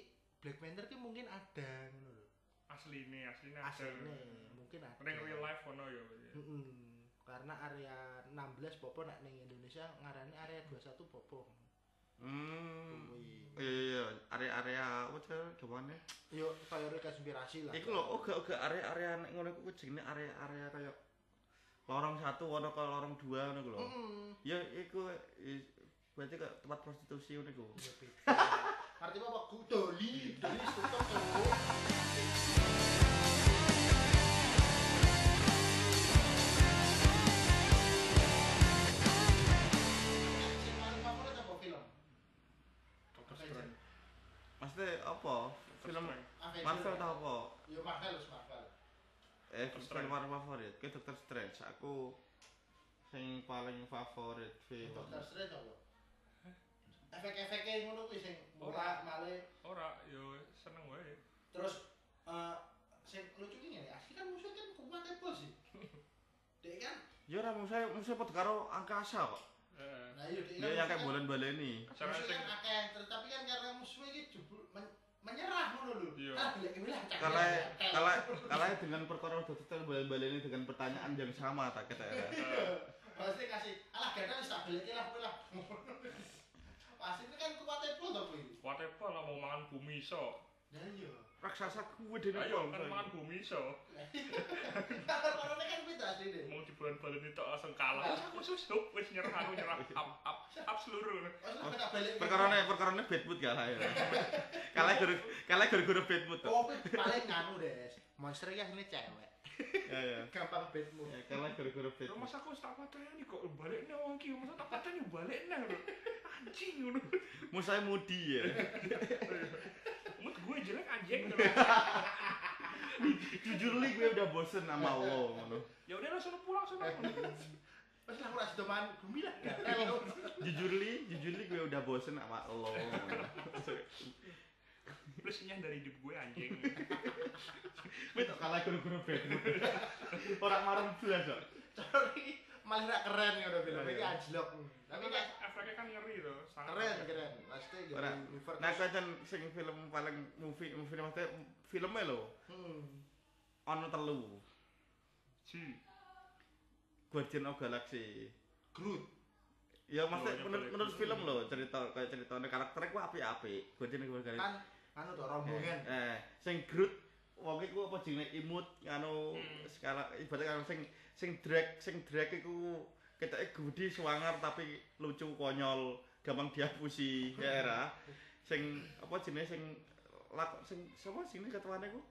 Speaker 2: Black Panther ki mungkin ada ngono lho
Speaker 1: Asline, asline ada.
Speaker 2: asline mungkin ada
Speaker 1: Ring real life ono ya.
Speaker 2: Mm-mm. karena area 16 popo nak ning Indonesia ngarani area 21 popo
Speaker 3: Hmm.
Speaker 2: kuwi
Speaker 3: Iya iya area-area apa tuh gawane?
Speaker 2: yo teori konspirasi lah
Speaker 3: Iku lho oh, oga-oga area-area nek ngono iku jenenge area-area kaya lorong satu ono kaya lorong dua ngono iku lho.
Speaker 2: Mm-mm.
Speaker 3: Ya iku i- berarti kaya tempat prostitusi ngono iku.
Speaker 2: Ya, beda. Arti apa? Kudoli, doli tutup tuh. Sing paling favorit apa film?
Speaker 1: Doctor
Speaker 2: Apa
Speaker 1: Strange.
Speaker 3: Maksudnya apa? Film
Speaker 1: Strange.
Speaker 2: Avenger.
Speaker 3: Marvel tau apa?
Speaker 2: Yo Marvel, wis Marvel.
Speaker 3: Eh,
Speaker 1: Doctor
Speaker 3: film
Speaker 1: Strange.
Speaker 3: Marvel favorit. Ke Doctor Strange. Aku sing paling favorit film.
Speaker 2: Doctor Strange apa? Efek-efeknya ngono kuwi sing murah malih
Speaker 1: Ora, yo seneng wae.
Speaker 2: terus eh sing lucu ki ngene, asli kan musuh kan kuat kan bos sih. Dek kan
Speaker 3: Ya ora musuhe musuhe padha karo angkasa kok.
Speaker 1: Heeh.
Speaker 2: Nah, iya, dia
Speaker 3: Ya yang kayak bulan baleni.
Speaker 1: Cara
Speaker 2: Musuhnya
Speaker 1: sing
Speaker 2: kan akeh, terus tapi kan karena musuh ini jebul men- menyerah ngono lho.
Speaker 1: Iya.
Speaker 2: Ah, gila, gila, cak,
Speaker 3: Kalau
Speaker 2: gila, cak.
Speaker 3: kalau kalau dengan perkara Doctor Strange baleni dengan pertanyaan yang sama tak kata ya.
Speaker 1: eh,
Speaker 2: Iya. Pasti kasih, alah gana wis tak goleki lah kowe lah. Pasti ini kan kuatnya pun to kuwi.
Speaker 1: whatever lah mau mangan bumi iso.
Speaker 2: Nah, iya.
Speaker 3: Raksasa kuwe dene
Speaker 1: Ayo kan mangan bumi iso.
Speaker 2: Karena kan kuwi tas ini.
Speaker 1: Mau di bulan balen itu langsung kalah. Terus Aku susuk wis nyerah aku nyerah up up up seluruh.
Speaker 2: Pas lu kena balik.
Speaker 3: Oh, perkarane perkarane Bedwood kalah ya. kalah guru kalah guru-guru Bedwood kok.
Speaker 2: Oh, kuwi paling nganu, Des. Monster ya ini cewek.
Speaker 3: Ya ya.
Speaker 2: Gampang bedmu.
Speaker 3: Ya kalah guru-guru
Speaker 1: Lho
Speaker 3: Bedwood.
Speaker 1: mas aku wis tak pateni kok balekne wong iki, mas tak pateni balekne lho. Anjing ngono.
Speaker 3: Musae mudi ya.
Speaker 1: Mut gue jelek anjing.
Speaker 3: Jujur li gue udah bosen sama lo ngono.
Speaker 1: Ya udah langsung pulang sana.
Speaker 2: Pas lah ora sido man bumi lah. gatel.
Speaker 3: Jujur li, jujur li gue udah bosen sama lo. ngono.
Speaker 1: Terus nyadari hidup gue anjing.
Speaker 3: Gue tak kalah guru-guru Bedwood. Orang marah belas kok.
Speaker 2: Sorry, malah ra keren ngono film
Speaker 3: Iya.
Speaker 2: iki anjlok. Tapi
Speaker 1: Tapi
Speaker 2: kan
Speaker 1: efeknya kan ngeri tuh. sangat
Speaker 2: keren keren. Pasti
Speaker 3: Ora.
Speaker 2: jadi universe.
Speaker 3: Nah, kan sing film paling movie movie maksudnya filmnya lo
Speaker 2: Hmm.
Speaker 3: ono telu
Speaker 1: Ji.
Speaker 3: Guardian of Galaxy.
Speaker 2: Groot.
Speaker 3: Ya maksudnya
Speaker 1: Loh,
Speaker 3: menurut,
Speaker 1: yang
Speaker 3: menurnya
Speaker 1: balik.
Speaker 3: film loh cerita kayak ceritanya karakternya ku api-api. Guardian of Galaxy.
Speaker 2: Kan anu to rombongan.
Speaker 3: Eh, sing Groot wong iku apa jenenge imut anu
Speaker 1: Hmm.
Speaker 3: skala ibaratnya kan sing sing drag sing drag iku ketoke gudi suwanger tapi lucu konyol gampang dihapusi ya era sing apa jenenge sing lak sing sapa jenenge ketuane iku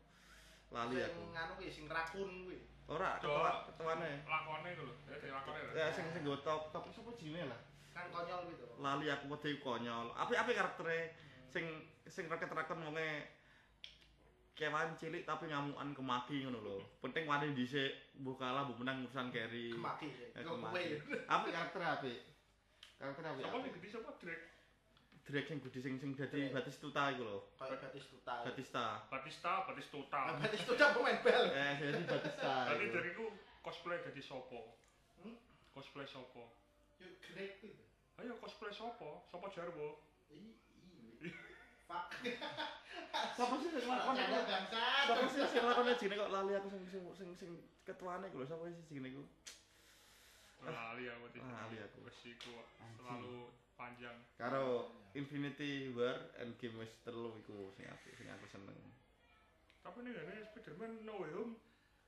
Speaker 3: lali
Speaker 2: Sing
Speaker 3: aku
Speaker 2: anu kuwi sing rakun kuwi.
Speaker 3: ora ketua ketuane
Speaker 1: Lakonnya itu loh. Jadi lakonnya lho.
Speaker 3: ya sing sing nggo top top sapa jenenge lah
Speaker 2: Kan konyol gitu.
Speaker 3: lali aku wedi konyol apik-apik karaktere sing sing raket-raket wonge kewan cilik tapi ngamukan kemaki ngono lho penting wani dhisik mbuh kalah mbuh menang urusan carry
Speaker 2: Kemaki.
Speaker 3: Ya,
Speaker 2: Kok
Speaker 3: kemaki.
Speaker 2: kowe.
Speaker 3: apik karakter apik karakter apik
Speaker 1: Siapa sih
Speaker 3: apik.
Speaker 1: gede siapa Drake?
Speaker 3: Drake sing gede sing sing dadi
Speaker 2: Drake.
Speaker 3: Batistuta iku lho
Speaker 2: Kayak Batistuta.
Speaker 3: Batista
Speaker 1: Batista, Batistuta.
Speaker 2: Ah, Batistuta pemain bal.
Speaker 3: eh jadi Batista
Speaker 1: Tadi
Speaker 3: iku.
Speaker 1: dari ku cosplay jadi sopo.
Speaker 2: Hmm?
Speaker 1: Cosplay sopo.
Speaker 2: Yo gede kuwi.
Speaker 1: Ayo cosplay sopo, sopo jarwo.
Speaker 2: Ih, ih, Pak.
Speaker 3: Sapa sih sing lakon?
Speaker 2: Canda bangsa.
Speaker 3: Sapa sih sing lakon jenenge kok lali aku sing sing sing sing ketuane iku lho sapa sih jenenge iku?
Speaker 1: Lali aku tadi.
Speaker 3: Lali aku.
Speaker 1: Wes iku kok terlalu panjang.
Speaker 3: Karo Infinity War and Game wis telu iku sing aku sing aku seneng.
Speaker 1: Tapi nih ini Spiderman No Way Home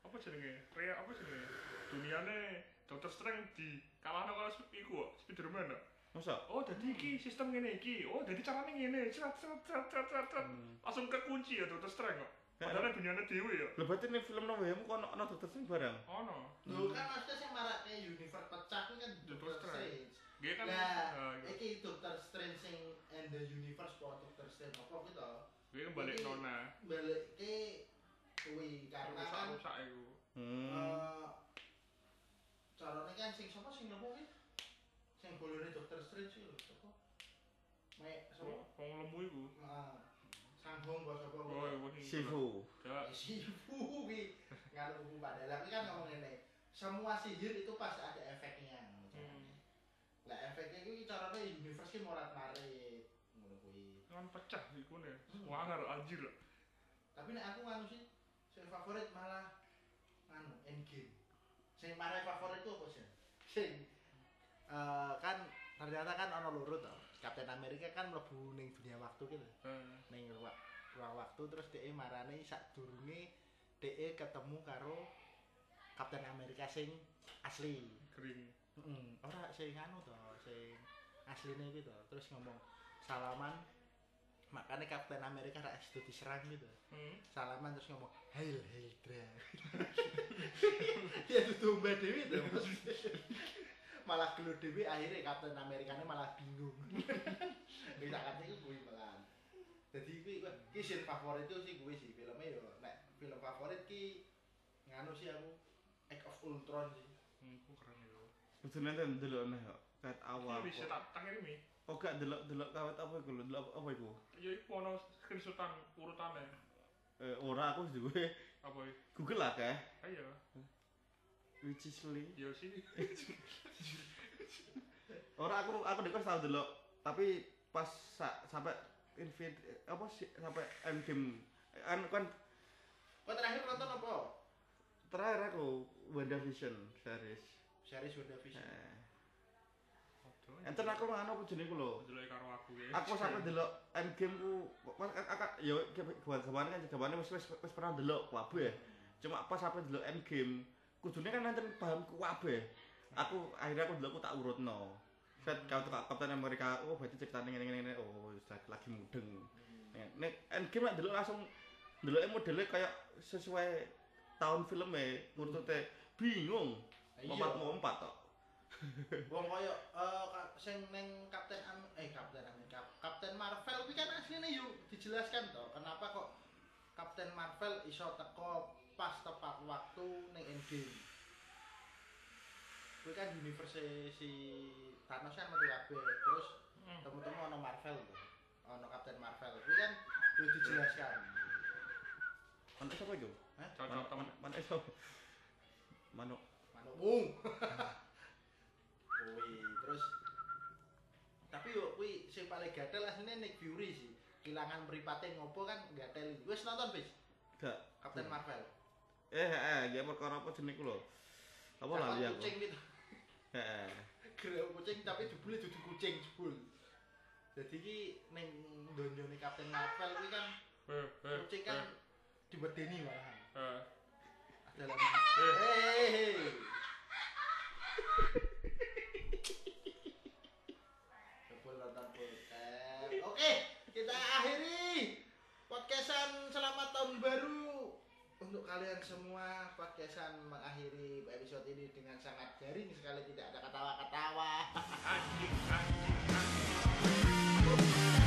Speaker 1: apa jenenge? Rea apa jenenge? Duniane Doctor Strange di kalahno karo Sp- iku kok Spiderman kok.
Speaker 3: Masa?
Speaker 1: Oh, dadi iki sistem ngene iki. Oh, dadi carane ngene. Cerat cerat cerat cerat cerat. cerat. Langsung kekunci ya Doctor Strange kok. Padahal duniane dhewe ya.
Speaker 3: Lho berarti ning film No Way Home kok ono ono Doctor Strange barang.
Speaker 1: Ono.
Speaker 2: Lho kan maksudnya sing marake universe pecah kuwi kan Doctor
Speaker 1: Doctor Strange.
Speaker 2: Strange.
Speaker 1: Dia kan
Speaker 2: Lah,
Speaker 1: eh,
Speaker 2: iki Doctor Strange sing and the universe po Doctor Strange apa kuwi to?
Speaker 1: dia kembali
Speaker 2: iki-
Speaker 1: nona.
Speaker 2: Balikke kuwi karena kan
Speaker 1: Rusak-rusak iku.
Speaker 3: Hmm.
Speaker 2: eh, carane kan sing sapa sing nopo kuwi? Sing bolone Doctor Strange kuwi lho, sapa? Mek sapa?
Speaker 1: Wong lemu iku.
Speaker 2: Heeh. Sambung kok sapa Eh,
Speaker 1: Oh,
Speaker 2: kuwi?
Speaker 1: wong
Speaker 3: Shifu.
Speaker 1: Ya,
Speaker 2: Sifu kuwi ngarep hukum padahal kuwi kan ngomong ngene. Semua sihir itu pasti ada efeknya.
Speaker 1: Hmm.
Speaker 2: Lah efeknya kuwi carane universe ki morat-marit ngono kuwi.
Speaker 1: kan pecah iku nih. Wangar anjir.
Speaker 2: Tapi nek aku nganu sih sing favorit malah nganu Endgame. Sing paling favorit ku apa sih? Sing eh, kan ternyata kan ono loro to. Captain America kan mlebu ning dunia waktu ki lho.
Speaker 1: Eh,
Speaker 2: ning ruang, ruang waktu terus DE marane sadurunge DE ketemu karo Kapten Amerika sing asli.
Speaker 1: kering.
Speaker 2: Heeh. Ora sing anu to, sing asline kuwi to. Terus ngomong salaman makanya Kapten Amerika rak sido diserang gitu.
Speaker 1: Hmm.
Speaker 2: Salaman terus ngomong Hail Hail Dragon. ya itu domba dewi itu malah gelo dewi akhirnya Kapten Amerikanya malah bingung. Bisa kata itu gue malah. Jadi gue gue ki scene favorit itu sih gue sih filmnya yo. Nek film favorit ki nganu sih aku Act of Ultron sih.
Speaker 1: Hmm, ku keren iku.
Speaker 3: Kudune ten delok neh kok. Kat awal.
Speaker 1: Ini bisa tak tak kirimi.
Speaker 3: Oh gak delok delok kawet apa iku lho? Delok apa- apa iku?
Speaker 1: Ya iku ono screenshotan urutane.
Speaker 3: Eh ora aku wis duwe
Speaker 1: Apa ya?
Speaker 3: Google lah kae.
Speaker 1: Ayo,
Speaker 3: Which is Lee.
Speaker 1: ya sih.
Speaker 3: Ora aku aku dek tau delok, tapi pas sa, sampai infin apa sih sampai endgame kan kan
Speaker 2: Kau terakhir nonton apa?
Speaker 3: terakhir aku WandaVision series.
Speaker 2: Series WandaVision.
Speaker 3: Eh,
Speaker 1: Aduh,
Speaker 3: enten aku ngono aku jenenge ku lho.
Speaker 1: Delok karo aku ya.
Speaker 3: Aku sampai delok endgame ku pas ak- ak- ya gambarane kan gambarane wis wis wis pernah delok kuwabe ya. Cuma pas sampai delok endgame kudune kan enten paham kuwabe. Aku akhirnya aku delok aku tak urutno. Set kau tuh Kapten Amerika, oh berarti ceritanya ngene ngene ngene, oh lagi mudeng. Nek Endgame lah delok langsung deloke modele kaya sesuai tahun filmnya nurutute bingung. Empat mau empat tok.
Speaker 2: Wong koyo eh, ka- sing neng Kapten Am eh Kapten Amerika, Kapten Marvel kuwi kan asline yo dijelaskan to, kenapa kok Kapten Marvel iso teko pas tepat waktu ning Endgame. Kuwi kan universe e si Thanos kan metu kabeh, terus
Speaker 1: Hmm.
Speaker 2: temu-temu ono Marvel to. Ono Kapten Marvel. Kuwi kan yo dijelaskan.
Speaker 3: Manuk sapa iku?
Speaker 1: Cocok temen.
Speaker 3: Manuk- Manuk sapa? Manuk.
Speaker 2: manukmu kuwi terus tapi yo kuwi sing paling gatel asline Nick Fury sih kehilangan mripate ngopo kan gatel wis nonton wis
Speaker 3: Gak.
Speaker 2: Captain
Speaker 3: Hmm.
Speaker 2: Marvel
Speaker 3: Eh, eh, ya perkara apa jeneng ku lho. Apa
Speaker 2: Cakap
Speaker 3: lali aku? Eh,
Speaker 2: kucing gitu
Speaker 3: Heeh.
Speaker 2: gerak kucing tapi jebule dudu kucing jebul jadi ki ning donyone Captain Marvel kuwi kan
Speaker 1: Eh, eh,
Speaker 3: Hmm.
Speaker 2: kucing
Speaker 1: eh,
Speaker 2: kan diwedeni malahan
Speaker 1: eh.
Speaker 2: dalam
Speaker 1: Eh.
Speaker 2: Hei. Full nonton full. Eh, Oke, kita akhiri podcastan selamat tahun baru untuk kalian semua podcastan mengakhiri episode ini dengan sangat garing sekali tidak ada ketawa-ketawa.
Speaker 1: Anjing, anjing, anjing.